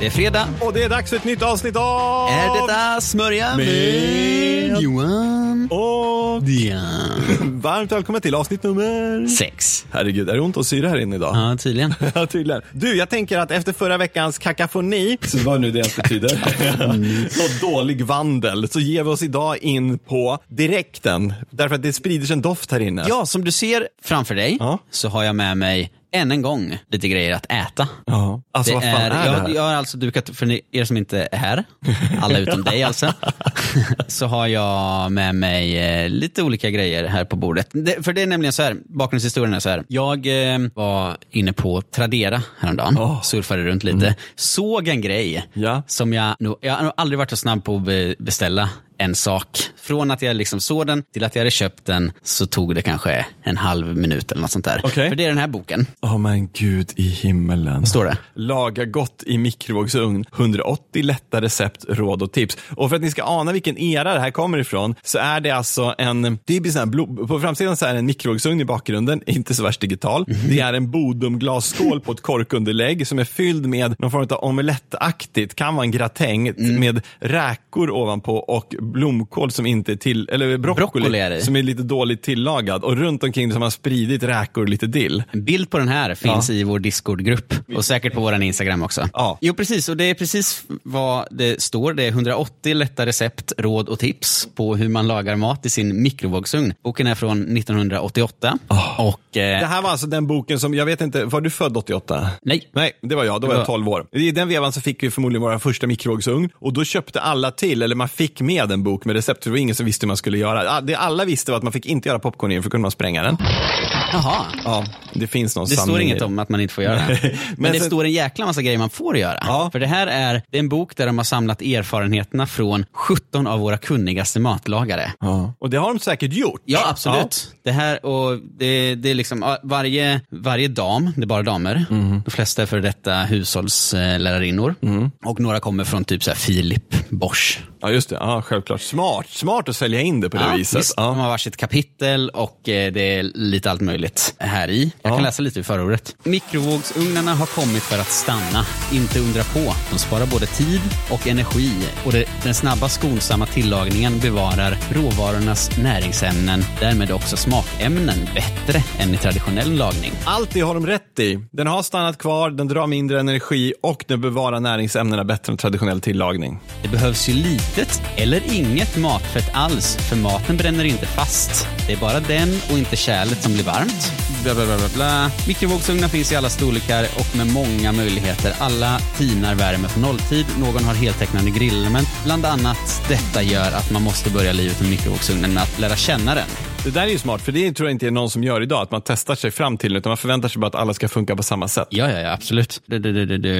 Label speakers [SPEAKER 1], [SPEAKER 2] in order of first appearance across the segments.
[SPEAKER 1] Det är fredag.
[SPEAKER 2] Och det är dags för ett nytt avsnitt av...
[SPEAKER 1] Är detta smörja
[SPEAKER 2] Med-
[SPEAKER 1] Johan?
[SPEAKER 2] Och
[SPEAKER 1] Dian.
[SPEAKER 2] varmt välkommen till avsnitt nummer...
[SPEAKER 1] Sex.
[SPEAKER 2] Herregud, är det ont att syra här inne idag?
[SPEAKER 1] Ja, tydligen.
[SPEAKER 2] Ja, tydligen. Du, jag tänker att efter förra veckans kakafoni, så vad nu det ens betyder, och dålig vandel, så ger vi oss idag in på direkten. Därför att det sprider sig en doft här inne.
[SPEAKER 1] Ja, som du ser framför dig
[SPEAKER 2] Ja.
[SPEAKER 1] så har jag med mig än en gång lite grejer att äta.
[SPEAKER 2] Ja. Alltså vad fan är, det här?
[SPEAKER 1] jag, jag har alltså dukat, för ni- er som inte är här, alla utom dig alltså, så har jag med mig eh, lite olika grejer här på bordet. Det, för det är nämligen så här, bakgrundshistorien är så här. Jag eh, var inne på Tradera häromdagen,
[SPEAKER 2] Åh. Mm.
[SPEAKER 1] surfade runt lite, såg en grej
[SPEAKER 2] Ja.
[SPEAKER 1] som jag nog, jag har nog aldrig varit så snabb på att be- beställa en sak. Från att jag liksom såg den till att jag hade köpt den så tog det kanske en halv minut eller något sånt där.
[SPEAKER 2] Okej.
[SPEAKER 1] För det är den här boken,
[SPEAKER 2] Åh men gud i himmelen.
[SPEAKER 1] står det.
[SPEAKER 2] Laga gott i mikrovågsugn. 180 lätta recept, råd och tips. Och för att ni ska ana vilken era det här kommer ifrån så är det alltså en, det är sån här, blå- på framsidan så är det en mikrovågsugn i bakgrunden, inte så värst digital.
[SPEAKER 1] Mhm.
[SPEAKER 2] Det är en Bodumglasskål på ett korkunderlägg som är fylld med någon form av omelettaktigt, kan vara en gratäng,
[SPEAKER 1] Mm.
[SPEAKER 2] med räkor ovanpå och blomkål som inte är till, eller broccoli,
[SPEAKER 1] Broccoli är det.
[SPEAKER 2] som är lite dåligt tillagad. Och runt omkring det så har man spridit räkor och lite dill.
[SPEAKER 1] En bild på den här finns i vår Discord-grupp och säkert på vår Instagram också.
[SPEAKER 2] Ja.
[SPEAKER 1] Jo, precis. Och det är precis vad det står. Det är 180 lätta recept, råd och tips på hur man lagar mat i sin mikrovågsugn. Boken är från 1988. Och, eh,
[SPEAKER 2] Ah. Det här var alltså den boken som, jag vet inte, var du född 88?
[SPEAKER 1] Nej.
[SPEAKER 2] Nej, det var jag. Då var
[SPEAKER 1] Det var-
[SPEAKER 2] jag 12 år. I den vevan så fick vi förmodligen våra första mikrovågsugn och då köpte alla till, eller man fick med en bok med recept för det var ingen som visste hur man skulle göra. Ah, Det alla visste var att man fick inte göra popcorn i den för då kunde man spränga den.
[SPEAKER 1] Jaha.
[SPEAKER 2] Ja, det finns någon
[SPEAKER 1] Det
[SPEAKER 2] sanning
[SPEAKER 1] står
[SPEAKER 2] i
[SPEAKER 1] inget
[SPEAKER 2] det.
[SPEAKER 1] om att man inte får göra det. Men,
[SPEAKER 2] Men
[SPEAKER 1] det
[SPEAKER 2] sen-
[SPEAKER 1] står en jäkla massa grejer man får göra.
[SPEAKER 2] Ja.
[SPEAKER 1] För det här är, det är en bok där de har samlat erfarenheterna från 17 av våra kunnigaste matlagare.
[SPEAKER 2] Ja. Och det har de säkert gjort.
[SPEAKER 1] Ja, absolut. Det här och det, det är liksom ja, varje, varje dam, det är bara damer. De flesta är för detta hushållslärarinnor. Och några kommer från typ så här Filip Bosch.
[SPEAKER 2] Ja, ja just det. Ja, självklart. Smart. Smart att sälja in det på det
[SPEAKER 1] Ja,
[SPEAKER 2] viset.
[SPEAKER 1] visst, De
[SPEAKER 2] Ja.
[SPEAKER 1] har varsitt kapitel och eh, det är lite allt möjligt här i. Jag kan läsa lite ur förordet. Mikrovågsugnarna har kommit för att stanna. Inte undra på. De sparar både tid och energi och det, den snabba skonsamma tillagningen bevarar råvarornas näringsämnen, därmed också smakämnen, bättre än i traditionell lagning.
[SPEAKER 2] Allt det har de rätt i. Den har stannat kvar, den drar mindre energi och den bevarar näringsämnena bättre än traditionell tillagning.
[SPEAKER 1] Det behövs ju litet eller inget matfett alls, för maten bränner inte fast. Det är bara den och inte kärlet som blir varmt. Bla, bla, bla, bla, bla. Mikrovågsugnar finns i alla storlekar och med många möjligheter. Alla tinar värme på nolltid, någon har heltäckande grillelement. Bland annat detta gör att man måste börja livet med mikrovågsugnen med att lära känna den.
[SPEAKER 2] Det där är ju smart, för det tror jag inte är någon som gör idag, att man testar sig fram till det, utan man förväntar sig bara att alla ska funka på samma sätt.
[SPEAKER 1] Ja, ja, ja, absolut. Du, du, du, du, du.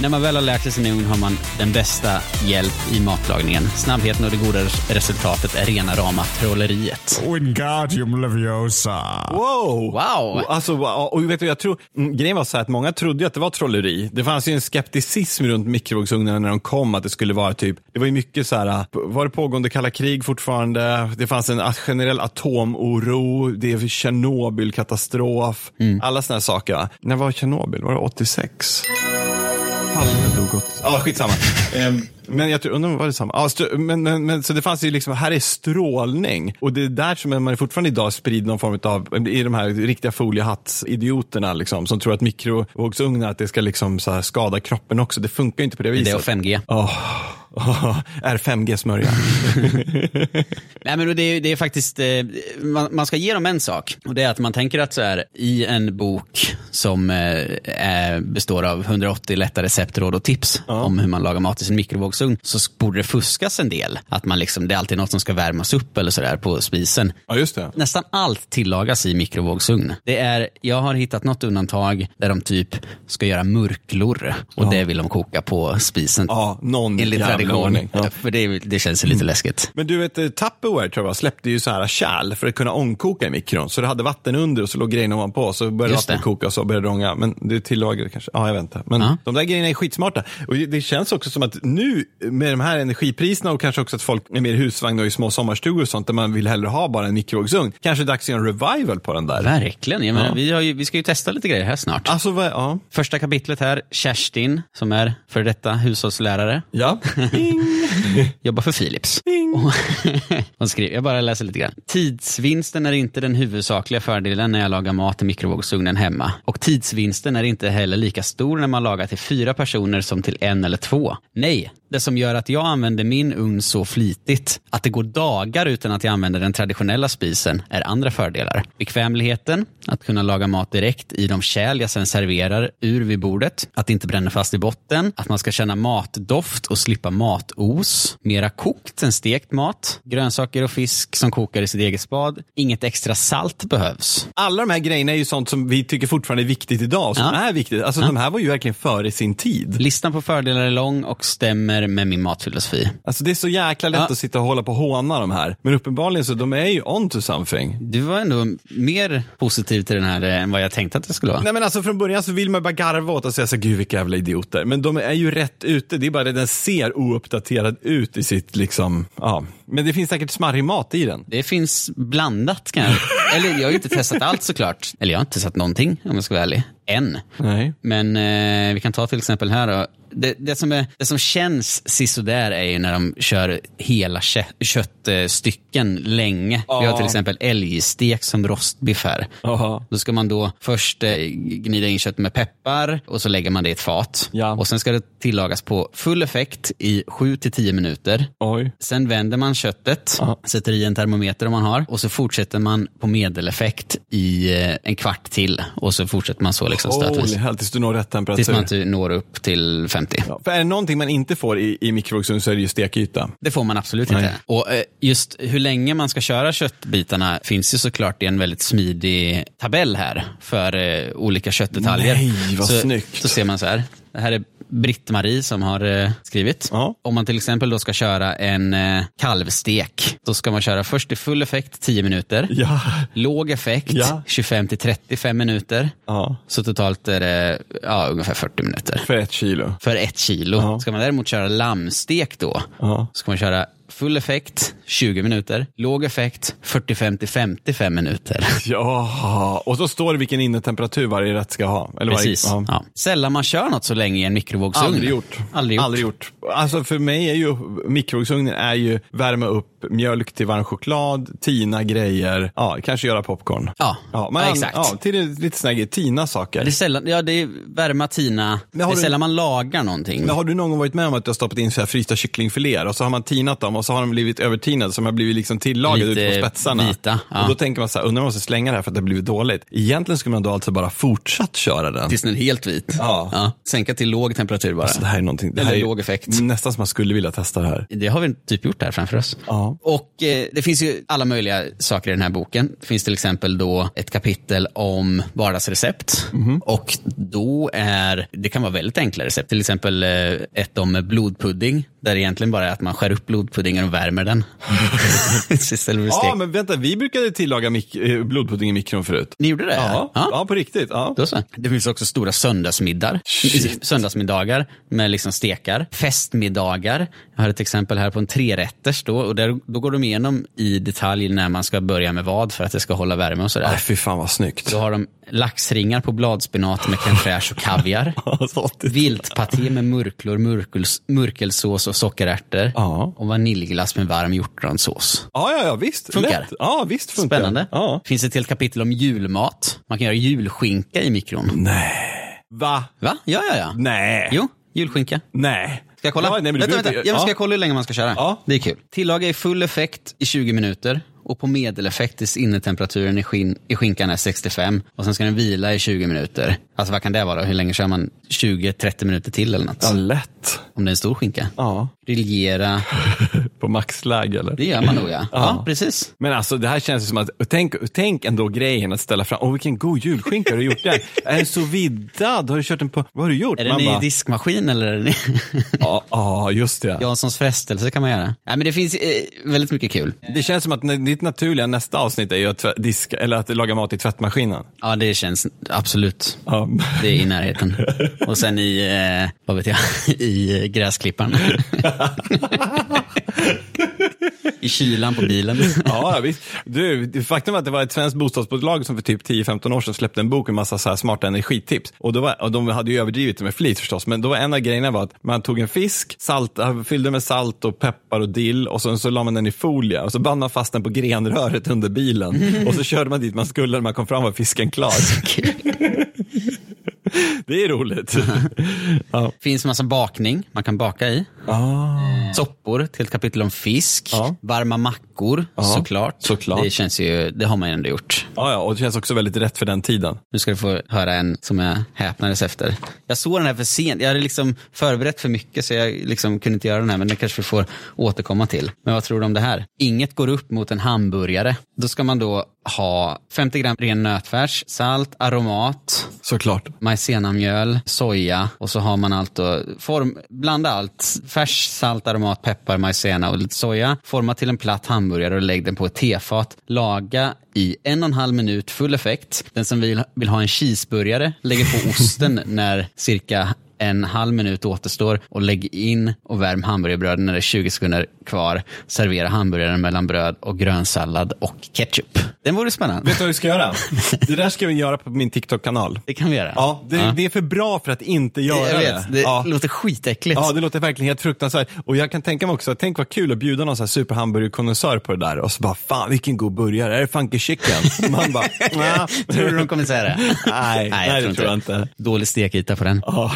[SPEAKER 1] När man väl har lärt sig sin ugn har man den bästa hjälp i matlagningen. Snabbheten och det goda res- resultatet är rena rama trolleriet.
[SPEAKER 3] Wingardium Leviosa.
[SPEAKER 2] Wow!
[SPEAKER 1] Wow.
[SPEAKER 2] Och, alltså, wow. och vet du, jag tror, mm, grejen var så här att många trodde ju att det var trolleri. Det fanns ju en skepticism runt mikrovågsugnarna när de kom, att det skulle vara typ, det var ju mycket så här, var det pågående kalla krig fortfarande? Det fanns en a- generell atomoro, det är Tjernobylkatastrof, alla sådana saker. va? När var Tjernobyl? Var det 86? Palme dog åt... Ja, skitsamma. Ehm, men jag tror, undrar om det var det samma. Ja, str- men, men, men, så det fanns ju liksom, här är strålning. Och det är där som man fortfarande idag sprider någon form av, i de här riktiga foliehattsidioterna liksom, som tror att mikrovågsugnar, att det ska liksom så här skada kroppen också. Det funkar ju inte på det
[SPEAKER 1] Det är
[SPEAKER 2] viset.
[SPEAKER 1] 5G.
[SPEAKER 2] Åh, åh, är 5G smörja?
[SPEAKER 1] Nej, men det, är, det är faktiskt, eh, man, man ska ge dem en sak. Och det är att man tänker att så här, i en bok som eh, är, består av 180 lätta recept, råd och tips om hur man lagar mat i sin mikrovågsugn, så sk- borde det fuskas en del. Att man liksom, det är alltid något som ska värmas upp eller sådär på spisen.
[SPEAKER 2] Ja, just det.
[SPEAKER 1] Nästan allt tillagas i mikrovågsugn. Det är, jag har hittat något undantag där de typ ska göra murklor och det vill de koka på spisen.
[SPEAKER 2] Ja, någon
[SPEAKER 1] Enligt
[SPEAKER 2] jävla någon ordning. Ja. Mm.
[SPEAKER 1] För det, det känns ju lite läskigt.
[SPEAKER 2] Men du vet, eh, Tupperware tror jag var, släppte ju så här kärl för att kunna ångkoka i mikron. Så det hade vatten under och så låg grejerna ovanpå. Så började
[SPEAKER 1] Just det.
[SPEAKER 2] vattnet koka och så började det ånga. Men det tillagrade kanske. Ja, jag vet inte. Men
[SPEAKER 1] Ja.
[SPEAKER 2] de där grejerna är skitsmarta. Och det känns också som att nu med de här energipriserna och kanske också att folk är mer i husvagn och i små sommarstugor och sånt där man vill hellre ha bara en mikrovågsugn. Kanske det är dags att göra en revival på den där.
[SPEAKER 1] Verkligen. Jag menar, vi, har ju, vi ska ju testa lite grejer här snart.
[SPEAKER 2] Alltså, vad, ja.
[SPEAKER 1] Första kapitlet här, Kerstin, som är för detta hushållslärare,
[SPEAKER 2] Ja.
[SPEAKER 1] jobbar för Philips. Och Hon skriver, jag bara läser lite grann. Tidsvinsten är inte den huvudsakliga fördelen när jag lagar mat i mikrovågsugnen hemma. Och tidsvinsten är inte heller lika stor när man lagar till fyra personer som till en eller två. Nej, det som gör att jag använder min ugn så flitigt, att det går dagar utan att jag använder den traditionella spisen, är andra fördelar. Bekvämligheten, att kunna laga mat direkt i de kärl jag sen serverar ur vid bordet, att det inte bränner fast i botten, att man ska känna matdoft och slippa matos, mera kokt än stekt mat, grönsaker och fisk som kokar i sitt eget spad, inget extra salt behövs.
[SPEAKER 2] Alla de här grejerna är ju sånt som vi tycker fortfarande är viktigt idag. och Som
[SPEAKER 1] Ja.
[SPEAKER 2] är viktigt. Alltså de här var ju verkligen före sin tid.
[SPEAKER 1] Listan på fördelar är lång och stämmer med min matfilosofi.
[SPEAKER 2] Alltså det är så jäkla lätt
[SPEAKER 1] Ja.
[SPEAKER 2] att sitta och hålla på och håna de här. Men uppenbarligen så de är ju on to something.
[SPEAKER 1] Du var ändå mer positiv till den här eh, än vad jag tänkte att det skulle vara.
[SPEAKER 2] Nej men alltså från början så vill man bara garva åt och säga så här, gud vilka jävla idioter. Men de är ju rätt ute, det är bara det den ser ouppdaterad ut i sitt liksom, ja. Men det finns säkert smarrig mat i den.
[SPEAKER 1] Det finns blandat kanske. Eller jag har ju inte testat allt såklart. Eller jag har inte testat någonting om jag ska vara ärlig. Än.
[SPEAKER 2] Nej.
[SPEAKER 1] Men eh, vi kan ta till exempel här då. Det, det, som är, det som känns sisådär är ju när de kör hela kö, köttstycken länge. Vi har till exempel älgstek som rostbiff här.
[SPEAKER 2] Jaha.
[SPEAKER 1] Då ska man då först eh, gnida in köttet med peppar och så lägger man det i ett fat.
[SPEAKER 2] Ja.
[SPEAKER 1] Och sen ska det tillagas på full effekt i 7-10 minuter.
[SPEAKER 2] Oj.
[SPEAKER 1] Sen vänder man köttet,
[SPEAKER 2] Ja.
[SPEAKER 1] sätter i en termometer om man har och så fortsätter man på medeleffekt i eh, en kvart till och så fortsätter man så liksom
[SPEAKER 2] Holy
[SPEAKER 1] stötvis.
[SPEAKER 2] hell, tills du når
[SPEAKER 1] Tills
[SPEAKER 2] rätt temperatur.
[SPEAKER 1] man ty- når upp till 50.
[SPEAKER 2] Ja, för är det någonting man inte får i, i mikrovågsugn så är det ju stekyta.
[SPEAKER 1] Det får man absolut
[SPEAKER 2] Nej.
[SPEAKER 1] inte. Och eh, just hur länge man ska köra köttbitarna finns ju såklart i en väldigt smidig tabell här för eh, olika köttdetaljer.
[SPEAKER 2] Nej, vad
[SPEAKER 1] så,
[SPEAKER 2] snyggt.
[SPEAKER 1] Så ser man så här. Det här är Britt-Marie som har eh, skrivit.
[SPEAKER 2] Ja.
[SPEAKER 1] Om man till exempel då ska köra en eh, kalvstek, då ska man köra först i full effekt 10 minuter.
[SPEAKER 2] Ja.
[SPEAKER 1] Låg effekt,
[SPEAKER 2] Ja.
[SPEAKER 1] 25 till 35 minuter.
[SPEAKER 2] Ja.
[SPEAKER 1] Så totalt är det ja, ungefär 40 minuter.
[SPEAKER 2] För ett kilo.
[SPEAKER 1] För ett kilo.
[SPEAKER 2] Ja.
[SPEAKER 1] Ska man däremot köra lammstek då,
[SPEAKER 2] Ja.
[SPEAKER 1] ska man köra full effekt, 20 minuter. Låg effekt, 45 till 55 minuter.
[SPEAKER 2] Ja, och så står det vilken innetemperatur varje rätt ska ha. Eller
[SPEAKER 1] Precis.
[SPEAKER 2] Varje,
[SPEAKER 1] Ja. Sällan man kör något så länge i en mikrovågsugn.
[SPEAKER 2] Aldrig gjort.
[SPEAKER 1] Aldrig gjort.
[SPEAKER 2] Alltså för mig är ju mikrovågsugnen är ju värma upp mjölk till varm choklad, tina grejer, ja, kanske göra popcorn.
[SPEAKER 1] Ja. Ja, exakt.
[SPEAKER 2] Ja, till lite sådana grejer, tina saker.
[SPEAKER 1] Det är sällan, ja det är värma, tina. Det
[SPEAKER 2] har
[SPEAKER 1] är
[SPEAKER 2] du-
[SPEAKER 1] sällan man lagar någonting.
[SPEAKER 2] Men har du någon gång varit med om att du har stoppat in så här frysta kycklingfiléer och så har man tinat dem och så har de blivit övertinade så de har blivit liksom tillagade
[SPEAKER 1] Lite
[SPEAKER 2] ut på spetsarna.
[SPEAKER 1] vita, ja.
[SPEAKER 2] Och då tänker man så här, undrar om man ska slänga det här för att det har blivit dåligt. Egentligen skulle man då alltså bara fortsatt köra den.
[SPEAKER 1] Tills den är helt vit.
[SPEAKER 2] Ja.
[SPEAKER 1] Sänka till låg temperatur bara.
[SPEAKER 2] Så det här är någonting. Det här
[SPEAKER 1] Eller
[SPEAKER 2] är ju
[SPEAKER 1] låg effekt.
[SPEAKER 2] Nästan som man skulle vilja testa det här.
[SPEAKER 1] Det har vi typ gjort här framför oss.
[SPEAKER 2] Ja.
[SPEAKER 1] Och eh, det finns ju alla möjliga saker i den här boken. Det finns till exempel då ett kapitel om vardagsrecept.
[SPEAKER 2] Mhm.
[SPEAKER 1] Och då är, det kan vara väldigt enkla recept. Till exempel eh, ett om blodpudding. Där det egentligen bara är att man skär upp blodpuddingen och värmer den. Istället för
[SPEAKER 2] Ja,
[SPEAKER 1] stek.
[SPEAKER 2] men vänta, vi brukade tillaga mik- eh, blodpudding i mikron förut.
[SPEAKER 1] Ni gjorde det?
[SPEAKER 2] Ja, ja. på riktigt. Ja.
[SPEAKER 1] Då så. Det finns också stora söndagsmiddagar.
[SPEAKER 2] Shit.
[SPEAKER 1] Söndagsmiddagar med liksom stekar. Festmiddagar. Jag har ett exempel här på en trerätters då. Och där, då går de igenom i detalj när man ska börja med vad för att det ska hålla värme och sådär.
[SPEAKER 2] Nej, Äh, fy fan vad snyggt.
[SPEAKER 1] Då har de laxringar på bladspenat med crème fraîche och kaviar.
[SPEAKER 2] Alltså, det-
[SPEAKER 1] Viltpaté med murklor, murkels, murkelsås och sockerärtor.
[SPEAKER 2] Ja.
[SPEAKER 1] Och vaniljglass med varm hjortronsås.
[SPEAKER 2] Ja, ja, ja, visst.
[SPEAKER 1] Funkar.
[SPEAKER 2] Lätt. Ja, visst funkar.
[SPEAKER 1] Spännande.
[SPEAKER 2] Ja.
[SPEAKER 1] Finns ett helt kapitel om julmat. Man kan göra julskinka i mikron.
[SPEAKER 2] Va?
[SPEAKER 1] Va? Ja, ja, ja.
[SPEAKER 2] Nej.
[SPEAKER 1] Jo, julskinka.
[SPEAKER 2] Nej.
[SPEAKER 1] Ska jag kolla?
[SPEAKER 2] Ja, nej, men du
[SPEAKER 1] vänta,
[SPEAKER 2] behöver
[SPEAKER 1] vänta.
[SPEAKER 2] inte-
[SPEAKER 1] Ja, men ska
[SPEAKER 2] Ja.
[SPEAKER 1] jag kolla hur länge man ska köra?
[SPEAKER 2] Ja.
[SPEAKER 1] Det är kul. Tillaga i full effekt i 20 minuter och på medeleffekt tills innertemperaturen i, skin, i skinkan är 65 och sen ska den vila i 20 minuter. Alltså vad kan det vara? Hur länge kör man? 20-30 minuter till eller något?
[SPEAKER 2] Ja, lätt.
[SPEAKER 1] Om det är en stor skinka.
[SPEAKER 2] Ja,
[SPEAKER 1] Briljera,
[SPEAKER 2] på maxläge eller?
[SPEAKER 1] det gör man nog ja. Ja, precis.
[SPEAKER 2] Men alltså det här känns ju som att, och tänk, och tänk ändå grejen att ställa fram, åh vilken god julskinka har du gjort där? är den så viddad? Har du kört den på, vad har du gjort?
[SPEAKER 1] Är den i
[SPEAKER 2] bara,
[SPEAKER 1] diskmaskin eller är den i
[SPEAKER 2] ja, ja, just det.
[SPEAKER 1] Janssons frestelse kan man göra? Nej men det finns eh, väldigt mycket kul.
[SPEAKER 2] Det känns som att nä- ditt naturliga nästa avsnitt är ju att, tvä- diska, eller att laga mat i tvättmaskinen.
[SPEAKER 1] Ja det känns absolut.
[SPEAKER 2] Ja.
[SPEAKER 1] Det är i närheten. Och sen i, eh, vad vet jag, i eh, gräsklipparen. I kylan på bilen.
[SPEAKER 2] Ja, visst. Du, det faktum att det var ett svenskt bostadsbolag som för typ 10-15 år sedan släppte en bok med massa så här smarta energitips. Och, då var, och de hade ju överdrivit det med flit förstås, men då var en av grejerna var att man tog en fisk, salt, äh, fyllde med salt och peppar och dill och sen så la man den i folie och så band man fast den på grenröret under bilen. Och så körde man dit man skulle när man kom fram var fisken klar. Det är roligt. Ja.
[SPEAKER 1] finns massa bakning man kan baka i.
[SPEAKER 2] Ah.
[SPEAKER 1] Soppor, ett helt kapitel om fisk.
[SPEAKER 2] Ja.
[SPEAKER 1] Varma mackor, såklart.
[SPEAKER 2] såklart.
[SPEAKER 1] Det, känns ju, det har man ju ändå gjort.
[SPEAKER 2] Ja, ja, och det känns också väldigt rätt för den tiden.
[SPEAKER 1] Nu ska du få höra en som jag häpnades efter. Jag såg den här för sent. Jag hade liksom förberett för mycket så jag liksom kunde inte göra den här. Men det kanske vi får återkomma till. Men vad tror du om det här? Inget går upp mot en hamburgare. Då ska man då ha 50 gram ren nötfärs, salt, aromat,
[SPEAKER 2] Såklart.
[SPEAKER 1] majsenamjöl, soja och så har man allt och form, blanda allt. Färs, salt, aromat, peppar, majsena och lite soja. Forma till en platt hamburgare och lägg den på ett tefat. Laga i en och en halv minut full effekt. Den som vill, vill ha en cheeseburgare lägger på osten när cirka en halv minut återstår och lägg in och värm hamburgerbröden när det är 20 sekunder kvar. Servera hamburgaren mellan bröd och grönsallad och ketchup. Den vore spännande.
[SPEAKER 2] Vet du vad vi ska göra? Det där ska vi göra på min TikTok-kanal.
[SPEAKER 1] Det kan vi göra.
[SPEAKER 2] Ja, det, det är för bra för att inte göra
[SPEAKER 1] Jag
[SPEAKER 2] det.
[SPEAKER 1] vet, det
[SPEAKER 2] ja.
[SPEAKER 1] låter skitäckligt.
[SPEAKER 2] ja, det låter verkligen helt fruktansvärt. Och jag kan tänka mig också, att tänk vad kul att bjuda någon så här superhamburgerkonnässör på det där och så bara, fan vilken god burgare, är det funky chicken? Man bara, "Nja."
[SPEAKER 1] Tror du de kommer säga det?
[SPEAKER 2] Nej, nej, det tror jag inte.
[SPEAKER 1] Dålig stekyta på den.
[SPEAKER 2] Ja,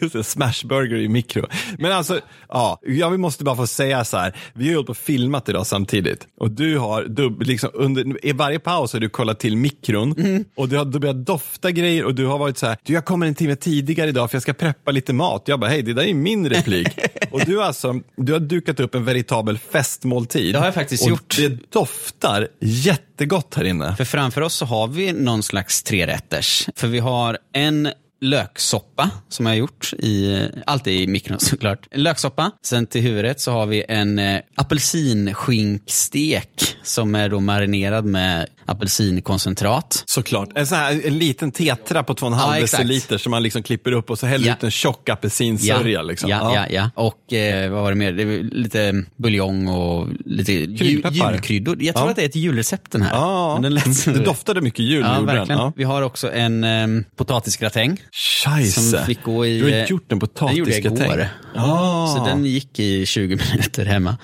[SPEAKER 2] just det. Smashburger i mikro. Men alltså, ja, jag måste bara få säga så här. Vi har ju hållit på och filmat idag samtidigt. Och du har, dubb, liksom, under, i varje paus har du kollat till mikron.
[SPEAKER 1] Mm.
[SPEAKER 2] Och du har du börjat dofta grejer och du har varit så här. Du, jag kommer en timme tidigare idag för jag ska preppa lite mat. Jag bara, hej, det där är ju min replik. och du, har alltså, du har dukat upp en veritabel festmåltid.
[SPEAKER 1] Det har jag faktiskt
[SPEAKER 2] och
[SPEAKER 1] gjort.
[SPEAKER 2] det doftar jättegott här inne.
[SPEAKER 1] För framför oss så har vi någon slags trerätters. För vi har en löksoppa som jag har gjort, i, alltid i mikron såklart. En löksoppa, sen till huvudrätt så har vi en eh, apelsinskynkstek som är då marinerad med apelsinkoncentrat.
[SPEAKER 2] Såklart. En, sån här, en liten tetra på 2,5
[SPEAKER 1] Ja, exakt.
[SPEAKER 2] deciliter som man liksom klipper upp och så häller
[SPEAKER 1] Ja.
[SPEAKER 2] ut en tjock apelsinsörja. liksom.
[SPEAKER 1] ja, ja, ja. Och eh, vad var det mer? Det var lite buljong och lite ju-
[SPEAKER 2] Kryddpeppar.
[SPEAKER 1] julkryddor. Jag tror
[SPEAKER 2] Ja.
[SPEAKER 1] att det är ett julrecept den här.
[SPEAKER 2] Ja,
[SPEAKER 1] Men den lät som-
[SPEAKER 2] det doftade mycket jul när
[SPEAKER 1] Ja,
[SPEAKER 2] du gjorde den.
[SPEAKER 1] verkligen.
[SPEAKER 2] Ja.
[SPEAKER 1] Vi har också en eh, potatisgratäng.
[SPEAKER 2] Scheisse.
[SPEAKER 1] Som fick gå i,
[SPEAKER 2] Du har
[SPEAKER 1] eh,
[SPEAKER 2] gjort en
[SPEAKER 1] Den gjorde
[SPEAKER 2] potatisgratäng.
[SPEAKER 1] jag igår.
[SPEAKER 2] Ah.
[SPEAKER 1] Så den gick i 20 minuter hemma.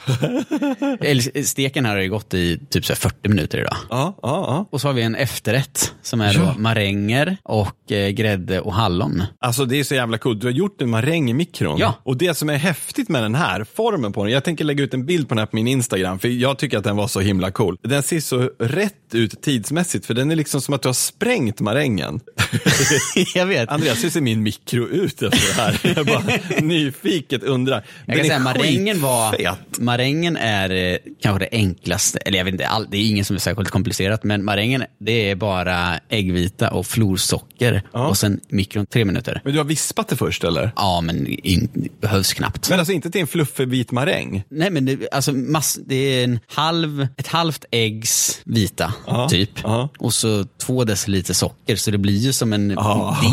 [SPEAKER 1] Eller, eh, Steken här har ju gått i typ så här 40 minuter idag.
[SPEAKER 2] Ja, ja, ja.
[SPEAKER 1] Och så har vi en efterrätt som är då
[SPEAKER 2] Ja.
[SPEAKER 1] maränger och eh, grädde och hallon.
[SPEAKER 2] Alltså det är så jävla coolt. Du har gjort en maräng i mikron.
[SPEAKER 1] Ja.
[SPEAKER 2] Och det som är häftigt med den här formen på den, jag tänker lägga ut en bild på den här på min Instagram, för jag tycker att den var så himla cool. Den ser så rätt ut tidsmässigt, för den är liksom som att du har sprängt marängen.
[SPEAKER 1] jag vet.
[SPEAKER 2] Andreas, hur ser min mikro ut efter det här? Jag bara nyfiket undrar.
[SPEAKER 1] Jag kan
[SPEAKER 2] Den är
[SPEAKER 1] säga marängen var,
[SPEAKER 2] skitfet.
[SPEAKER 1] marängen är eh, kanske det enklaste, eller jag vet inte, all, det är ingen som är särskilt komplicerat, men marängen det är bara äggvita och florsocker och sen mikron tre minuter.
[SPEAKER 2] Men du har vispat det först eller?
[SPEAKER 1] Ja, men in, det behövs knappt.
[SPEAKER 2] Men alltså inte till en fluffig vit maräng?
[SPEAKER 1] Nej men det, alltså mass, det är en halv, ett halvt äggs vita typ.
[SPEAKER 2] ja.
[SPEAKER 1] Och så två deciliter socker så det blir ju som en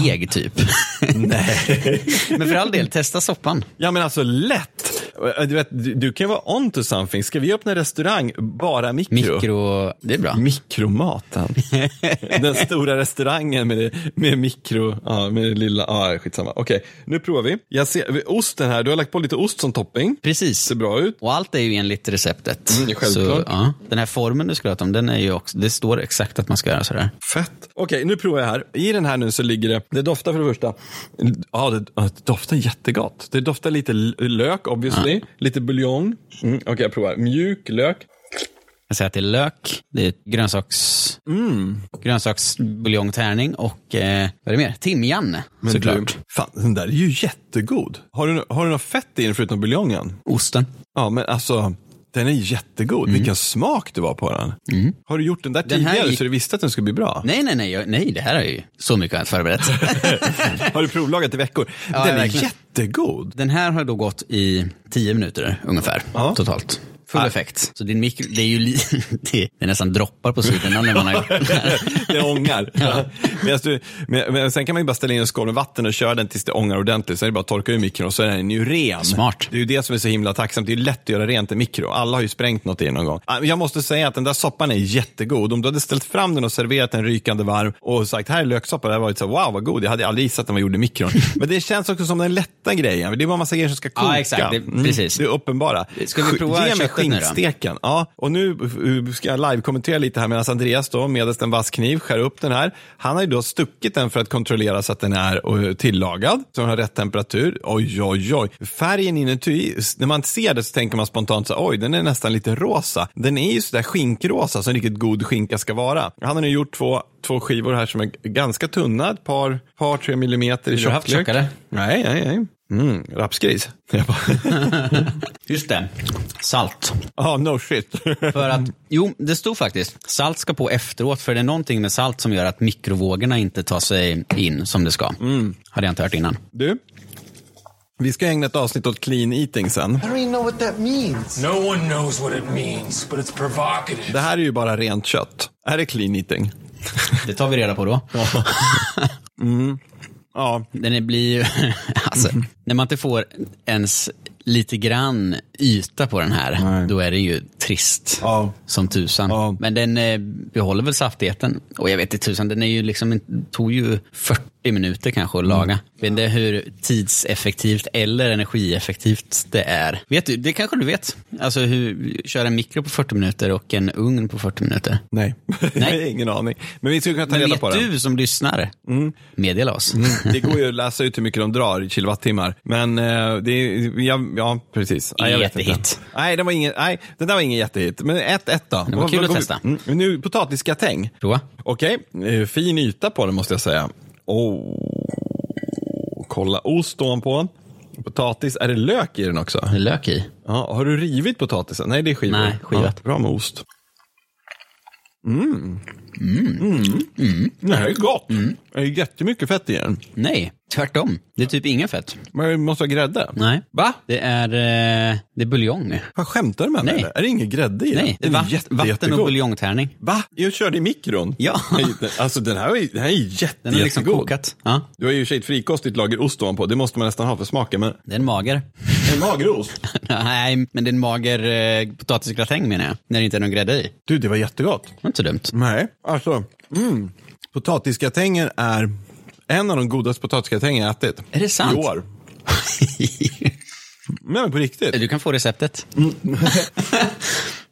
[SPEAKER 1] deg typ. men för all del, testa soppan.
[SPEAKER 2] Ja men alltså lätt! Du, vet, du, du kan vara on to something. Ska vi öppna en restaurang bara mikro?
[SPEAKER 1] Mikro, det är bra.
[SPEAKER 2] Mikromaten. Den stora restaurangen med, det, med mikro, ja, med det lilla, ja skitsamma. Okej, nu provar vi. Jag ser, osten här, du har lagt på lite ost som topping.
[SPEAKER 1] Precis.
[SPEAKER 2] Ser bra ut.
[SPEAKER 1] Och allt är ju enligt receptet.
[SPEAKER 2] Mm, det är självklart.
[SPEAKER 1] Så, ja. Den här formen du ska prata om, den är ju också, det står exakt att man ska göra sådär.
[SPEAKER 2] Fett. Okej, nu provar jag här. I den här nu så ligger det, det doftar för det första, ja det, ja, det doftar jättegott. Det doftar lite l- lök obviously, lite buljong. Mm, Okej, jag provar. Mjuk lök.
[SPEAKER 1] Jag säger att det är lök, det är grönsaks,
[SPEAKER 2] Mm.
[SPEAKER 1] grönsaksbuljongtärning och eh, vad är det mer? Timjan
[SPEAKER 2] Men
[SPEAKER 1] såklart.
[SPEAKER 2] Du, fan, den där är ju jättegod. Har du, har du något fett i den förutom buljongen?
[SPEAKER 1] Osten.
[SPEAKER 2] Ja, men alltså, den är jättegod. Vilken smak det var på den. Har du gjort den där
[SPEAKER 1] Mm. här
[SPEAKER 2] tidigare
[SPEAKER 1] gick-
[SPEAKER 2] så du visste att den skulle bli bra?
[SPEAKER 1] Nej, nej, nej, jag, nej, det här är ju så mycket förberett.
[SPEAKER 2] Har du provlagat i veckor? den är
[SPEAKER 1] verkligen.
[SPEAKER 2] jättegod.
[SPEAKER 1] Den här har då gått i 10 minuter ungefär
[SPEAKER 2] Ja.
[SPEAKER 1] totalt. Full effekt. Så din mikro, det är ju li, det, det nästan droppar på sidorna när man har gjort den här.
[SPEAKER 2] Det ångar. Medan du, men, men sen kan man ju bara ställa in en skål med vatten och köra den tills det ångar ordentligt. Sen är det bara att torka ur mikron och så är den ju ren.
[SPEAKER 1] Smart.
[SPEAKER 2] Det är ju det som är så himla tacksamt. Det är ju lätt att göra rent i mikro. Alla har ju sprängt något i den någon gång. Ah, men Jag måste säga att den där soppan är jättegod. Om du hade ställt fram den och serverat den rykande varm och sagt här är löksoppa, det hade varit så här, wow vad god. Jag hade aldrig gissat att den var gjord i mikron. men det känns också som den lätta grejen. Det är bara en massa grejer som ska koka. Mm.
[SPEAKER 1] Ja, exakt. Det- precis.
[SPEAKER 2] Det är uppenbara.
[SPEAKER 1] Ska vi prova
[SPEAKER 2] Ge mig
[SPEAKER 1] köttet nu då?
[SPEAKER 2] skinkste- steken. Ja, och nu uh, ska jag live-kommentera lite här medan Andreas då medelst en vass kniv skär upp den här. Han har ju då stuckit den för att kontrollera så att den är uh, tillagad, så den har rätt temperatur. Oj, oj, oj. Färgen inuti, s- när man ser det så tänker man spontant så här, oj, den är nästan lite rosa. Den är ju sådär skinkrosa som riktigt god skinka ska vara. Han har nu gjort två två skivor här som är g- ganska tunna, ett par, par tre millimeter i
[SPEAKER 1] du haft
[SPEAKER 2] tjocklek.
[SPEAKER 1] tjockare?
[SPEAKER 2] Nej, nej, nej. Mm, rapsgris. Jag bara,
[SPEAKER 1] Just det. Salt.
[SPEAKER 2] Ja, no shit.
[SPEAKER 1] För att, jo, det stod faktiskt. Salt ska på efteråt, för det är någonting med salt som gör att mikrovågorna inte tar sig in som det ska. Hade jag inte hört innan.
[SPEAKER 2] Du, vi ska ägna ett avsnitt åt clean eating sen.
[SPEAKER 4] I don't even know what that means.
[SPEAKER 5] No one knows what it means, but it's provocative.
[SPEAKER 2] Det här är ju bara rent kött. Är det clean eating?
[SPEAKER 1] Det tar vi reda på då.
[SPEAKER 2] Ja,
[SPEAKER 1] Den är- blir ju, alltså,
[SPEAKER 2] Mm.
[SPEAKER 1] när man inte får ens lite grann yta på den här, då är det ju trist
[SPEAKER 2] Ja.
[SPEAKER 1] som tusan.
[SPEAKER 2] Ja.
[SPEAKER 1] Men den eh, behåller väl saftigheten. Och jag vet inte tusan, den är ju liksom, inte- tog ju 40 minuter kanske att laga.
[SPEAKER 2] Mm.
[SPEAKER 1] Men det är hur tidseffektivt eller energieffektivt det är. Vet du, det kanske du vet? Alltså hur, köra en mikro på 40 minuter och en ugn på 40 minuter.
[SPEAKER 2] nej.
[SPEAKER 1] Nej.
[SPEAKER 2] Ingen aning. Men vi skulle kunna ta
[SPEAKER 1] Men
[SPEAKER 2] reda
[SPEAKER 1] vet
[SPEAKER 2] på Mm. det.
[SPEAKER 1] du som lyssnar, meddela oss.
[SPEAKER 2] Det går ju att läsa ut hur mycket de drar i kilowattimmar. Men eh, det är, ja, ja precis. Nej, jag vet inte.
[SPEAKER 1] Jättehit.
[SPEAKER 2] Nej, den var ingen, nej, den där var ingen jättehit. Men ett, ett då.
[SPEAKER 1] var kul att testa.
[SPEAKER 2] Mm, men nu potatisgratäng.
[SPEAKER 1] Prova.
[SPEAKER 2] Okej, eh, fin yta på den måste jag säga. Oh. Kolla ost ovanpå. Potatis, är det lök i den också?
[SPEAKER 1] Det är lök i.
[SPEAKER 2] Ja, har du rivit potatisen? Nej, det är skivor.
[SPEAKER 1] Nej, skivat.
[SPEAKER 2] Ja, bra med ost. Mm. Mm. Det här är gott. Det är jättemycket fett i den.
[SPEAKER 1] Nej, tvärtom. Det är typ inget fett.
[SPEAKER 2] Men det måste ha grädde.
[SPEAKER 1] Nej.
[SPEAKER 2] Va?
[SPEAKER 1] Det är, eh, det är buljong.
[SPEAKER 2] Vad skämtar du med mig?
[SPEAKER 1] Nej.
[SPEAKER 2] eller? Är det ingen grädde i den?
[SPEAKER 1] Nej, det är
[SPEAKER 2] Den är
[SPEAKER 1] vatt,
[SPEAKER 2] jätte-
[SPEAKER 1] vatten och
[SPEAKER 2] jättegod.
[SPEAKER 1] buljongtärning.
[SPEAKER 2] Va? Jag körde i mikron?
[SPEAKER 1] Ja.
[SPEAKER 2] Nej, den- Alltså den här, är- den här är jätte,
[SPEAKER 1] Den är liksom
[SPEAKER 2] jättegod.
[SPEAKER 1] kokat. Ja,
[SPEAKER 2] Du har ju i och för sig ett frikostigt lager ost ovanpå. Det måste man nästan ha för smaken. Men
[SPEAKER 1] det är en mager.
[SPEAKER 2] en magerost?
[SPEAKER 1] Nej, men det är en mager eh, potatisgratäng menar jag. När det inte är någon grädde i. Det
[SPEAKER 2] Du, det var jättegott.
[SPEAKER 1] var inte så dumt.
[SPEAKER 2] Nej, alltså. Mm. Potatisgratängen är en av de godaste potatisgratänger jag ätit.
[SPEAKER 1] Är det sant?
[SPEAKER 2] I år. Nej, men på riktigt.
[SPEAKER 1] Du kan få receptet.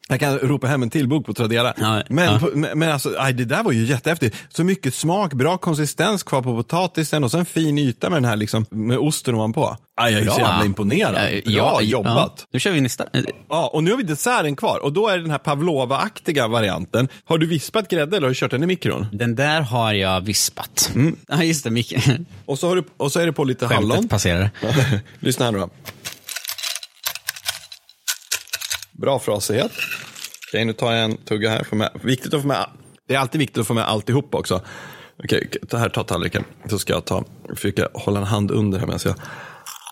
[SPEAKER 2] Jag kan ropa hem en till bok på Tradera.
[SPEAKER 1] Ja,
[SPEAKER 2] men,
[SPEAKER 1] ja.
[SPEAKER 2] på- men, men alltså, aj, det där var ju jättehäftigt. Så mycket smak, bra konsistens kvar på potatisen och sen fin yta med den här liksom, med osten ovanpå. Aj, jag är så jävla imponerad. Bra
[SPEAKER 1] Ja,
[SPEAKER 2] jobbat.
[SPEAKER 1] Ja. Nu kör vi nästa.
[SPEAKER 2] Ja, och nu har vi desserten kvar och då är det den här pavlova-aktiga varianten. Har du vispat grädde eller har du kört den i mikron?
[SPEAKER 1] Den där har jag vispat. Ja, just det, Micke.
[SPEAKER 2] Och så, har du, och så är det på lite hallon.
[SPEAKER 1] Skämtet passerar.
[SPEAKER 2] Lyssna här nu då. Bra frasighet. Okej, nu tar jag en tugga här. Får med. Viktigt att få med. Det är alltid viktigt att få med alltihop också. Okej, ta här, ta tallriken. Så ska jag ta, försöka hålla en hand under här medan jag...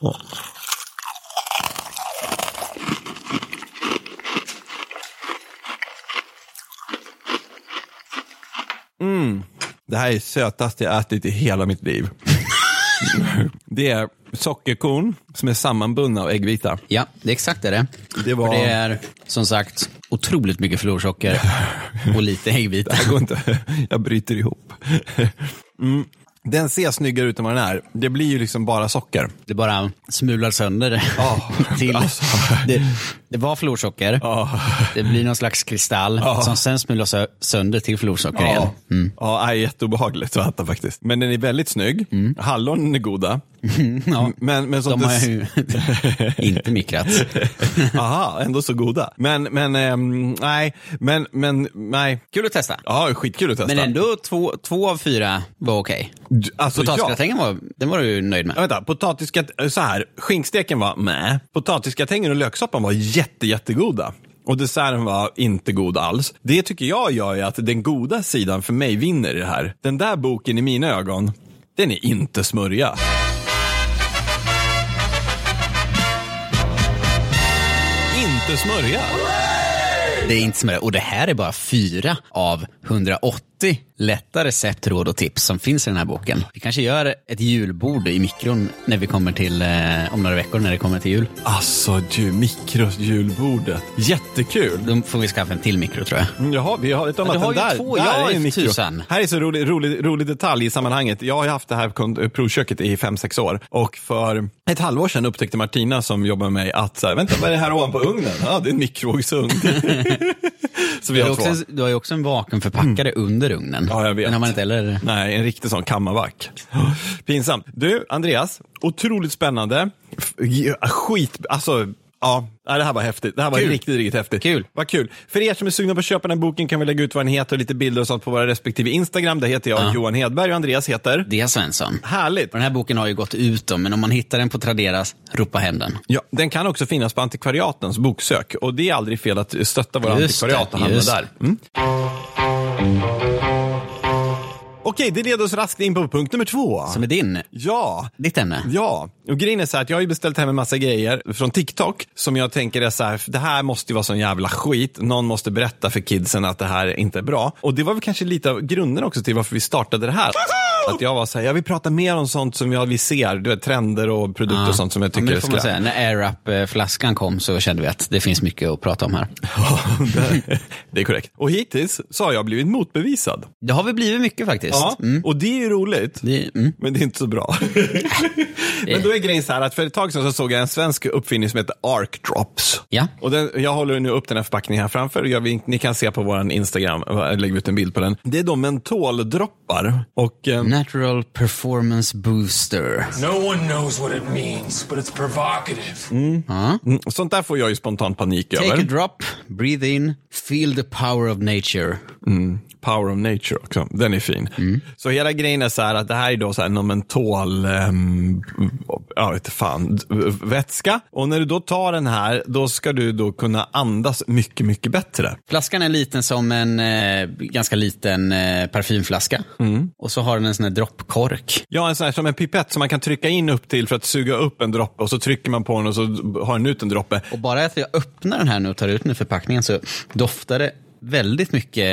[SPEAKER 2] Ja. Mm. Det här är sötaste jag ätit i hela mitt liv. Det är sockerkorn som är sammanbundna och äggvita.
[SPEAKER 1] Ja, det är exakt det det är.
[SPEAKER 2] Det var-
[SPEAKER 1] Och det är som sagt otroligt mycket florsocker och lite äggvita.
[SPEAKER 2] Det här går inte. Jag bryter ihop. Mm. Den ser snyggare ut än vad den är. Det blir ju liksom bara socker.
[SPEAKER 1] Det bara smular sönder.
[SPEAKER 2] Ja,
[SPEAKER 1] till.
[SPEAKER 2] alltså. Ah.
[SPEAKER 1] Det, det var florsocker, det blir någon slags kristall som sen smulas sö- sönder till
[SPEAKER 2] Ah.
[SPEAKER 1] florsocker igen.
[SPEAKER 2] Ja, ja det är jätteobehagligt att äta faktiskt. Men den är väldigt snygg. Hallonen är goda.
[SPEAKER 1] Mm. Ja,
[SPEAKER 2] Men, men som
[SPEAKER 1] de har
[SPEAKER 2] det-
[SPEAKER 1] ju inte mikrat.
[SPEAKER 2] Aha, ändå så goda. Men, men, ehm, nej, men, men, nej.
[SPEAKER 1] Kul att testa.
[SPEAKER 2] Ja, skitkul att testa.
[SPEAKER 1] Men ändå två, två av fyra var okej.
[SPEAKER 2] D- Alltså, ja.
[SPEAKER 1] Potatisgratängen var, den var du nöjd
[SPEAKER 2] Ja,
[SPEAKER 1] med.
[SPEAKER 2] vänta, potatisgat- så här, skinksteken var med. Potatisgratängen och löksoppan var jätte, jättegoda. Och desserten var inte god alls. Det tycker jag gör ju att den goda sidan för mig vinner i det här. Den där boken i mina ögon, den är inte smörja. Inte smörja.
[SPEAKER 1] Det är inte som det. Och det här är bara fyra av 180 lätta recept, råd och tips som finns i den här boken. Vi kanske gör ett julbord i mikron när vi kommer till, eh, om några veckor när det kommer till jul.
[SPEAKER 2] Alltså du, mikrojulbordet. Jättekul.
[SPEAKER 1] Då får vi skaffa en till mikro tror jag.
[SPEAKER 2] Mm, Jaha, vi har ett om
[SPEAKER 1] Ja,
[SPEAKER 2] att
[SPEAKER 1] du har
[SPEAKER 2] den
[SPEAKER 1] ju
[SPEAKER 2] där,
[SPEAKER 1] två.
[SPEAKER 2] där
[SPEAKER 1] Ja,
[SPEAKER 2] är
[SPEAKER 1] för
[SPEAKER 2] en mikro.
[SPEAKER 1] tusan.
[SPEAKER 2] Här är så rolig, rolig, rolig detalj i sammanhanget. Jag har ju haft det här kon- provköket i fem sex år och för ett halvår sedan upptäckte Martina som jobbar med mig att så här, vänta vad är det här ovanpå ugnen? Ja, det är en mikrovågsugn. så vi
[SPEAKER 1] Du har,
[SPEAKER 2] har
[SPEAKER 1] ju också,
[SPEAKER 2] två. Mm.
[SPEAKER 1] en- du har ju också en vakuumförpackare under ugnen.
[SPEAKER 2] Ja, jag vet.
[SPEAKER 1] Den har man inte heller...
[SPEAKER 2] Nej, en riktig sån kammarback. Pinsamt. Du, Andreas, otroligt spännande. F- ja, Skit, alltså. Ja, nej, det här var häftigt. Det här var
[SPEAKER 1] Kul.
[SPEAKER 2] riktigt, riktigt häftigt.
[SPEAKER 1] Kul.
[SPEAKER 2] Vad kul. För er som är sugna på att köpa den här boken kan vi lägga ut vad den heter och lite bilder och sånt på våra respektive Instagram. Där heter jag Johan Hedberg och Andreas heter.
[SPEAKER 1] Det är Svensson.
[SPEAKER 2] Härligt.
[SPEAKER 1] Och Den här boken har ju gått ut då, men om man hittar den på Tradera, ropa hem den.
[SPEAKER 2] Ja, den kan också finnas på antikvariatens boksök och det är aldrig fel att stötta våra
[SPEAKER 1] Just
[SPEAKER 2] antikvariat
[SPEAKER 1] det,
[SPEAKER 2] och handla
[SPEAKER 1] just
[SPEAKER 2] där. Mm. Okej, det leder oss raskt in på punkt nummer två.
[SPEAKER 1] Som är din.
[SPEAKER 2] Ja,
[SPEAKER 1] Ditt ämne.
[SPEAKER 2] Ja, och grejen är så här att jag har ju beställt hem en massa grejer från TikTok som jag tänker är så här, det här måste ju vara sån jävla skit. Någon måste berätta för kidsen att det här inte är bra. Och det var väl kanske lite av grunden också till varför vi startade det här. Att jag var så här, jag vill prata mer om sånt som jag, vi ser, du vet trender och produkter och sånt som jag
[SPEAKER 1] Ja, men
[SPEAKER 2] tycker
[SPEAKER 1] det får man säga. När AirUp-flaskan kom så kände vi att det finns mycket att prata om här.
[SPEAKER 2] Det är korrekt. Och hittills så har jag blivit motbevisad.
[SPEAKER 1] Det har vi blivit mycket faktiskt. Mm.
[SPEAKER 2] Ja, och det är ju roligt.
[SPEAKER 1] Det, mm.
[SPEAKER 2] Men det är inte så bra. Men då är grejen så här att för ett tag sedan så såg jag en svensk uppfinning som heter Arc Drops.
[SPEAKER 1] Ja.
[SPEAKER 2] Och den, jag håller nu upp den här förpackningen här framför. Jag, vill- ni kan se på vår Instagram, jag lägger ut en bild på den. Det är då mentoldroppar. Och, eh,
[SPEAKER 1] Natural Performance Booster.
[SPEAKER 5] No one knows what it means, but it's provocative.
[SPEAKER 2] sånt där får jag ju spontan panik
[SPEAKER 1] Take a
[SPEAKER 2] över.
[SPEAKER 1] drop, breathe in, feel the power of nature.
[SPEAKER 2] Power of Nature också. Den är fin.
[SPEAKER 1] Mm.
[SPEAKER 2] Så hela grejen är så här att det här är då så här någon mentol, ehm, ja inte fan, d- vätska. Och när du då tar den här, då ska du då kunna andas mycket, mycket bättre.
[SPEAKER 1] Flaskan är liten som en eh, ganska liten eh, parfymflaska.
[SPEAKER 2] Mm.
[SPEAKER 1] Och så har den en sån här droppkork.
[SPEAKER 2] Ja, en sån här som en pipett som man kan trycka in upp till för att suga upp en droppe och så trycker man på den och så har den ut en droppe.
[SPEAKER 1] Och bara att jag öppnar den här nu och tar ut den ur förpackningen så doftar det väldigt mycket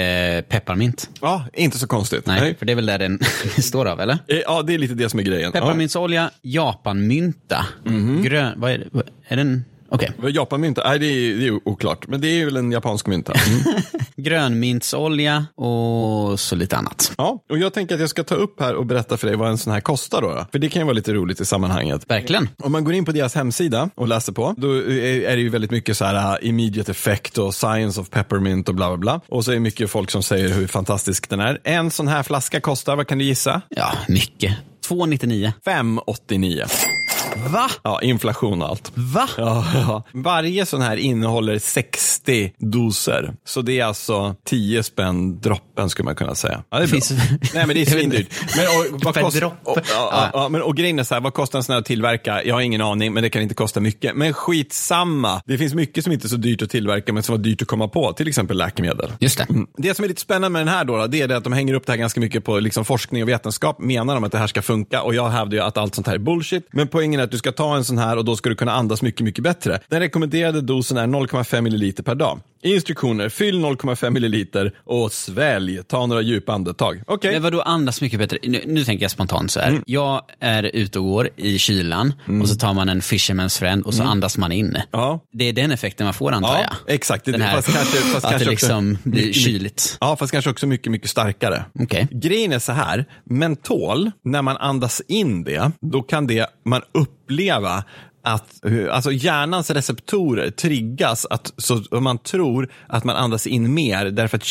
[SPEAKER 1] eh, pepparmint.
[SPEAKER 2] Ja, inte så konstigt.
[SPEAKER 1] Nej, för det är väl där den består av, eller?
[SPEAKER 2] Eh, Ja, det är lite det som är grejen.
[SPEAKER 1] Pepparmintsolja, japanmynta,
[SPEAKER 2] Mhm.
[SPEAKER 1] grön... Vad är det? Vad- Är den... Okej.
[SPEAKER 2] Ja. Eh, Japanmynta? Nej, det är, det är oklart. Men det är väl en japansk mynta. Mm.
[SPEAKER 1] Grönmintsolja och så lite annat.
[SPEAKER 2] ja, och jag tänker att jag ska ta upp här och berätta för dig vad en sån här kostar då. då. För det kan ju vara lite roligt i sammanhanget.
[SPEAKER 1] Verkligen.
[SPEAKER 2] Om man går in på deras hemsida och läser på, då är är det ju väldigt mycket så här uh, immediate effect och science of peppermint och bla bla bla. Och så är det mycket folk som säger hur fantastisk den är. En sån här flaska kostar, vad kan du gissa?
[SPEAKER 1] Ja, mycket. 2,99.
[SPEAKER 2] 589.
[SPEAKER 1] Va?
[SPEAKER 2] Ja, inflation och allt.
[SPEAKER 1] Va?
[SPEAKER 2] Ja, ja. Varje sån här innehåller 60 doser. Så det är alltså 10 spänn droppen skulle man kunna säga. Ja, det är
[SPEAKER 1] Finns-
[SPEAKER 2] bra. Nej men
[SPEAKER 1] Jag
[SPEAKER 2] det är
[SPEAKER 1] vet inte.
[SPEAKER 2] svindyrt. Men, och, vad
[SPEAKER 1] Per
[SPEAKER 2] kost...
[SPEAKER 1] droppe.
[SPEAKER 2] och, ja, ja, ja, men, och grejen är så här, vad kostar en sån här att tillverka? Jag har ingen aning, men det kan inte kosta mycket. Men skitsamma. Det finns mycket som inte är så dyrt att tillverka, men som var dyrt att komma på. Till exempel läkemedel.
[SPEAKER 1] Just det.
[SPEAKER 2] Det som är lite spännande med den här då, då det är det att de hänger upp det här ganska mycket på liksom forskning och vetenskap. Menar de att det här ska funka? Och jag hävdar ju att allt sånt här är bullshit. Men poängen är att du ska ta en sån här och då ska du kunna andas mycket, mycket bättre. Den rekommenderade dosen är 0,5 milliliter per dag. Instruktioner, fyll 0,5 milliliter och svälj. Ta några djupa andetag. Okej. Mm.
[SPEAKER 1] Men vadå andas mycket bättre? Nu, nu tänker jag spontant så här. Jag är ute och går i kylan och så tar man en fisherman's friend och så andas man in.
[SPEAKER 2] Mm. Ja.
[SPEAKER 1] Det är den effekten man får antar
[SPEAKER 2] Ja,
[SPEAKER 1] jag.
[SPEAKER 2] exakt. Det-
[SPEAKER 1] Den här,
[SPEAKER 2] fast kanske- fast
[SPEAKER 1] att
[SPEAKER 2] kanske
[SPEAKER 1] det
[SPEAKER 2] också- Mm.
[SPEAKER 1] liksom blir
[SPEAKER 2] mycket- mycket-
[SPEAKER 1] kyligt.
[SPEAKER 2] Ja, fast kanske också mycket, mycket starkare.
[SPEAKER 1] Okej.
[SPEAKER 2] Grejen är så här, mentol, när man andas in det, då kan det, man uppleva att hur- alltså hjärnans receptorer triggas att så om man tror att man andas in mer därför att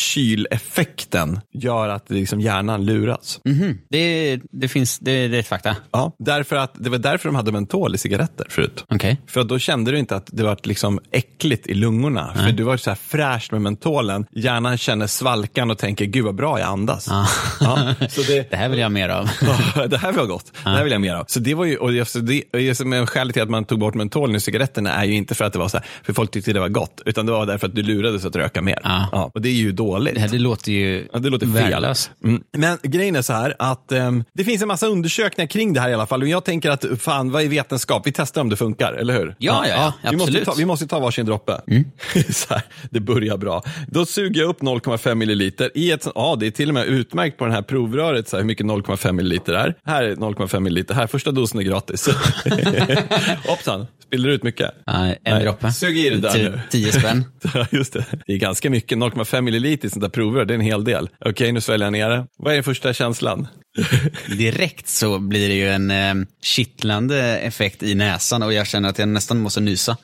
[SPEAKER 2] kyleffekten gör att liksom hjärnan luras.
[SPEAKER 1] Mhm. Det, det, finns, det, det är ett fakta.
[SPEAKER 2] Ja, därför att, det var därför de hade mentol i cigaretter förut.
[SPEAKER 1] Okej.
[SPEAKER 2] För att då kände du inte att det var liksom äckligt i lungorna. För du var så här fräsch med mentolen. Hjärnan känner svalkan och tänker, gud vad bra jag andas. Ja, så det,
[SPEAKER 1] Det här vill jag ha mer av.
[SPEAKER 2] Ja, det här var gott. Det här vill jag mer av. Så det var ju, och det, så det, och det som är skälet till att man tog bort mentolen i cigaretterna är ju inte för att det var så här, för folk tyckte det var gott, utan det var därför att du lurades att röka mer.
[SPEAKER 1] Ja.
[SPEAKER 2] och det är ju dåligt.
[SPEAKER 1] Det här det låter ju
[SPEAKER 2] Ja, det låter
[SPEAKER 1] värdelöst.
[SPEAKER 2] fel. Mm. Men grejen är så här att ehm, det finns en massa undersökningar kring det här i alla fall. Och jag tänker att fan, vad är vetenskap? Vi testar om det funkar, eller hur?
[SPEAKER 1] ja, ja,
[SPEAKER 2] vi, måste
[SPEAKER 1] absolut. Mm.
[SPEAKER 2] ta, vi måste ta varsin droppe. så här, det börjar bra. Då suger jag upp 0,5 milliliter i ett, ja det är till och med utmärkt på den här provröret så här, hur mycket 0,5 milliliter är. Här är 0,5 milliliter, här första dosen är gratis. Hoppsan, spiller ut mycket.
[SPEAKER 1] Ja, en
[SPEAKER 2] Nej,
[SPEAKER 1] droppe.
[SPEAKER 2] Sug i det där
[SPEAKER 1] Ti-
[SPEAKER 2] nu.
[SPEAKER 1] Tio spänn.
[SPEAKER 2] Ja, just det. Det är ganska mycket. 0,5 milliliter i sånt där provrör, det är en hel del. Okej, nu sväljer jag ner det. Vad är den första känslan?
[SPEAKER 1] Direkt så blir det ju en eh, kittlande effekt i näsan och jag känner att jag nästan måste nysa.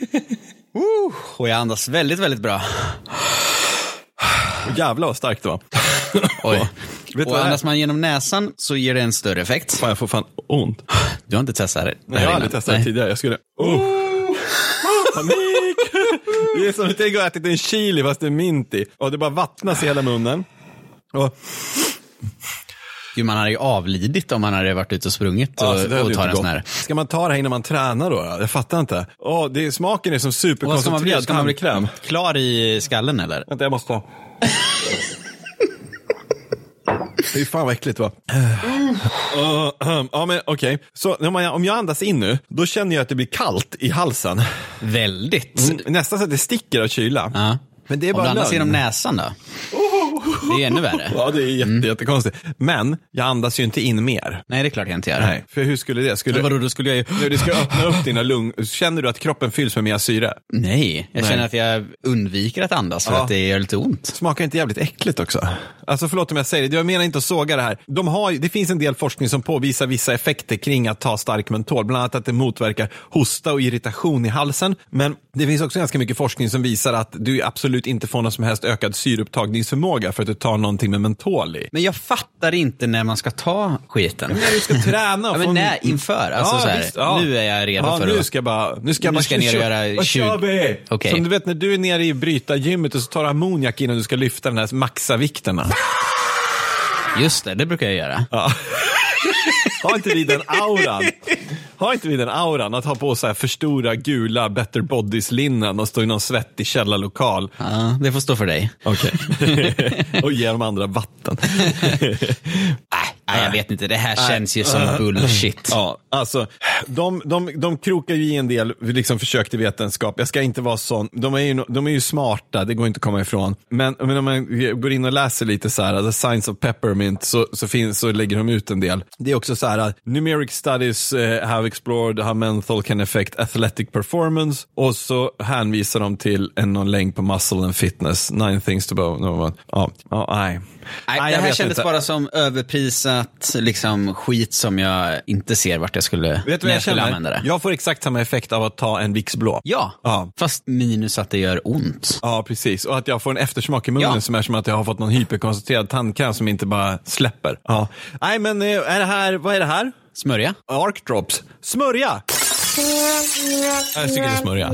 [SPEAKER 1] Woo! och jag andas väldigt, väldigt bra.
[SPEAKER 2] Åh, Jävlar vad starkt det var.
[SPEAKER 1] Oj.
[SPEAKER 2] du vad det
[SPEAKER 1] och
[SPEAKER 2] här-
[SPEAKER 1] andas man genom näsan så ger det en större effekt.
[SPEAKER 2] Fan, jag får fan ont.
[SPEAKER 1] Du har inte testat det?
[SPEAKER 2] Nej, jag har aldrig testat
[SPEAKER 1] tidigare.
[SPEAKER 2] det tidigare. Jag skulle... Oh. Panik! Det är som att jag har ätit en chili fast det är mint i. Och det bara vattnas i hela munnen. Och,
[SPEAKER 1] Gud, man hade ju avlidit om man hade varit ute och sprungit och,
[SPEAKER 2] Ja, så Alltså, det hade
[SPEAKER 1] och
[SPEAKER 2] ju
[SPEAKER 1] tagit
[SPEAKER 2] inte
[SPEAKER 1] en sån
[SPEAKER 2] gått.
[SPEAKER 1] här.
[SPEAKER 2] Ska man ta det här innan man tränar då? då? Jag fattar inte. Åh, det är, smaken är som
[SPEAKER 1] Och Vad ska man bli?
[SPEAKER 2] superkoncentrerad
[SPEAKER 1] Ska man bli
[SPEAKER 2] tandkräm.
[SPEAKER 1] klar i skallen eller?
[SPEAKER 2] Vänta, jag måste ta. Fy fan vad äckligt det var. Uh, ahem. ja, men okej. Så när man- om jag andas in nu, då känner jag att det blir kallt i halsen.
[SPEAKER 1] Väldigt.
[SPEAKER 2] Mm, Nästan så att det sticker av kyla.
[SPEAKER 1] Ja.
[SPEAKER 2] Men det är
[SPEAKER 1] Om du
[SPEAKER 2] bara
[SPEAKER 1] andas genom
[SPEAKER 2] lögn.
[SPEAKER 1] näsan då? Det är ännu värre.
[SPEAKER 2] Ja, det är jätte,
[SPEAKER 1] Mm.
[SPEAKER 2] jättekonstigt. Men jag andas ju inte in mer.
[SPEAKER 1] Nej, det är klart jag inte gör.
[SPEAKER 2] Nej, för hur skulle det? Skulle...
[SPEAKER 1] Men vadå, då skulle jag ju...
[SPEAKER 2] Nu, du ska öppna upp dina lungor. Känner du att kroppen fylls med mer syre?
[SPEAKER 1] Nej, jag
[SPEAKER 2] Nej.
[SPEAKER 1] känner att jag undviker att andas för
[SPEAKER 2] Ja.
[SPEAKER 1] att det gör lite ont.
[SPEAKER 2] Smakar inte jävligt äckligt också? Alltså förlåt om jag säger det, jag menar inte att såga det här. De har, ju- det finns en del forskning som påvisar vissa effekter kring att ta stark mentol, bland annat att det motverkar hosta och irritation i halsen. Men det finns också ganska mycket forskning som visar att du absolut inte får någon som helst ökad syreupptagningsförmåga för att du tar någonting med mentol i.
[SPEAKER 1] Men jag fattar inte när man ska ta skiten.
[SPEAKER 2] När du ska träna
[SPEAKER 1] Ja,
[SPEAKER 2] och
[SPEAKER 1] men
[SPEAKER 2] få en-
[SPEAKER 1] nej, inför. Alltså, så här, Nu är jag redo
[SPEAKER 2] ja,
[SPEAKER 1] för
[SPEAKER 2] nu
[SPEAKER 1] att...
[SPEAKER 2] ska jag bara, nu ska jag
[SPEAKER 1] Nu
[SPEAKER 2] bara
[SPEAKER 1] ska jag ner och göra
[SPEAKER 2] Vad
[SPEAKER 1] 20
[SPEAKER 2] kör vi?
[SPEAKER 1] Okej.
[SPEAKER 2] Som du vet när du är nere i brytargymmet och så tar du ammoniak innan du ska lyfta den här maxa vikterna.
[SPEAKER 1] Just det, det brukar jag göra.
[SPEAKER 2] Har inte vi den auran? Har inte vi den auran att ha på så här för stora gula better bodies-linnen och stå i någon svettig källarlokal
[SPEAKER 1] Ja, det får stå för dig.
[SPEAKER 2] Okej. och ge de andra vatten?
[SPEAKER 1] Nej, nej, jag vet inte. Det här känns ju som bullshit.
[SPEAKER 2] Ja, alltså, de, de, de krokar ju i en del liksom, försök till vetenskap. Jag ska inte vara sån. De är, ju, no- de är ju smarta, det går inte att komma ifrån. Men, men om man går in och läser lite så här, the science of peppermint, så, så, finns, så lägger de ut en del. Det är också så här, numeric studies eh, have explored how menthol can affect athletic performance. Och så hänvisar de till en någon länk på muscle and fitness, nine things to bo. No, ja, ja, nej.
[SPEAKER 1] Nej, det
[SPEAKER 2] Nej, jag
[SPEAKER 1] här
[SPEAKER 2] vet
[SPEAKER 1] kändes
[SPEAKER 2] inte.
[SPEAKER 1] bara som överprisat liksom, skit som jag inte ser vart jag skulle,
[SPEAKER 2] Vet du
[SPEAKER 1] när
[SPEAKER 2] vad
[SPEAKER 1] jag
[SPEAKER 2] jag
[SPEAKER 1] skulle
[SPEAKER 2] känner?
[SPEAKER 1] använda det.
[SPEAKER 2] Jag får exakt samma effekt av att ta en Vicks blå.
[SPEAKER 1] Ja,
[SPEAKER 2] Ja.
[SPEAKER 1] fast minus att det gör ont.
[SPEAKER 2] Ja, precis. Och att jag får en eftersmak i munnen
[SPEAKER 1] Ja.
[SPEAKER 2] som är som att jag har fått någon hyperkoncentrerad tandkräm som inte bara släpper. Ja. Nej, men eh, är det här, vad är det här?
[SPEAKER 1] Smörja?
[SPEAKER 2] Arc drops. Smörja! Jag tycker det är smörja.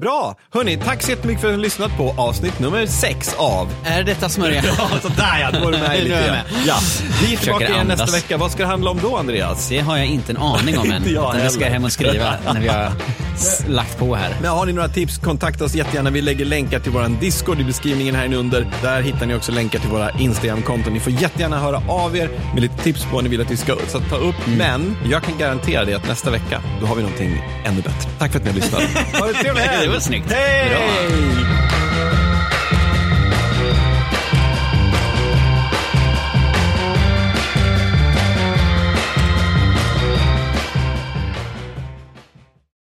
[SPEAKER 2] Bra! Hörni, tack så jättemycket för att ni har lyssnat på avsnitt nummer sex av...
[SPEAKER 1] Är detta smörja?
[SPEAKER 2] Ja, sådär ja, då var du med
[SPEAKER 1] Nu
[SPEAKER 2] lite
[SPEAKER 1] är jag
[SPEAKER 2] grann.
[SPEAKER 1] med.
[SPEAKER 2] Ja. Vi är tillbaka
[SPEAKER 1] Försöker
[SPEAKER 2] igen nästa
[SPEAKER 1] andas.
[SPEAKER 2] vecka. Vad ska det handla om då, Andreas?
[SPEAKER 1] Det har jag inte en aning om än.
[SPEAKER 2] Inte jag
[SPEAKER 1] Utan det ska jag
[SPEAKER 2] heller.
[SPEAKER 1] hem och skriva när vi har s- lagt på här.
[SPEAKER 2] Men har ni några tips, kontakta oss jättegärna. Vi lägger länkar till vår Discord i beskrivningen här under. Där hittar ni också länkar till våra Instagram-konton. Ni får jättegärna höra av er med lite tips på vad ni vill att vi ska så att ta upp.
[SPEAKER 1] Mm.
[SPEAKER 2] Men jag kan garantera dig att nästa vecka, då har vi någonting ännu bättre. Tack för att ni har lyssnat. Ha det trevligt!
[SPEAKER 1] Det var snyggt.
[SPEAKER 2] Hej!
[SPEAKER 1] Bra.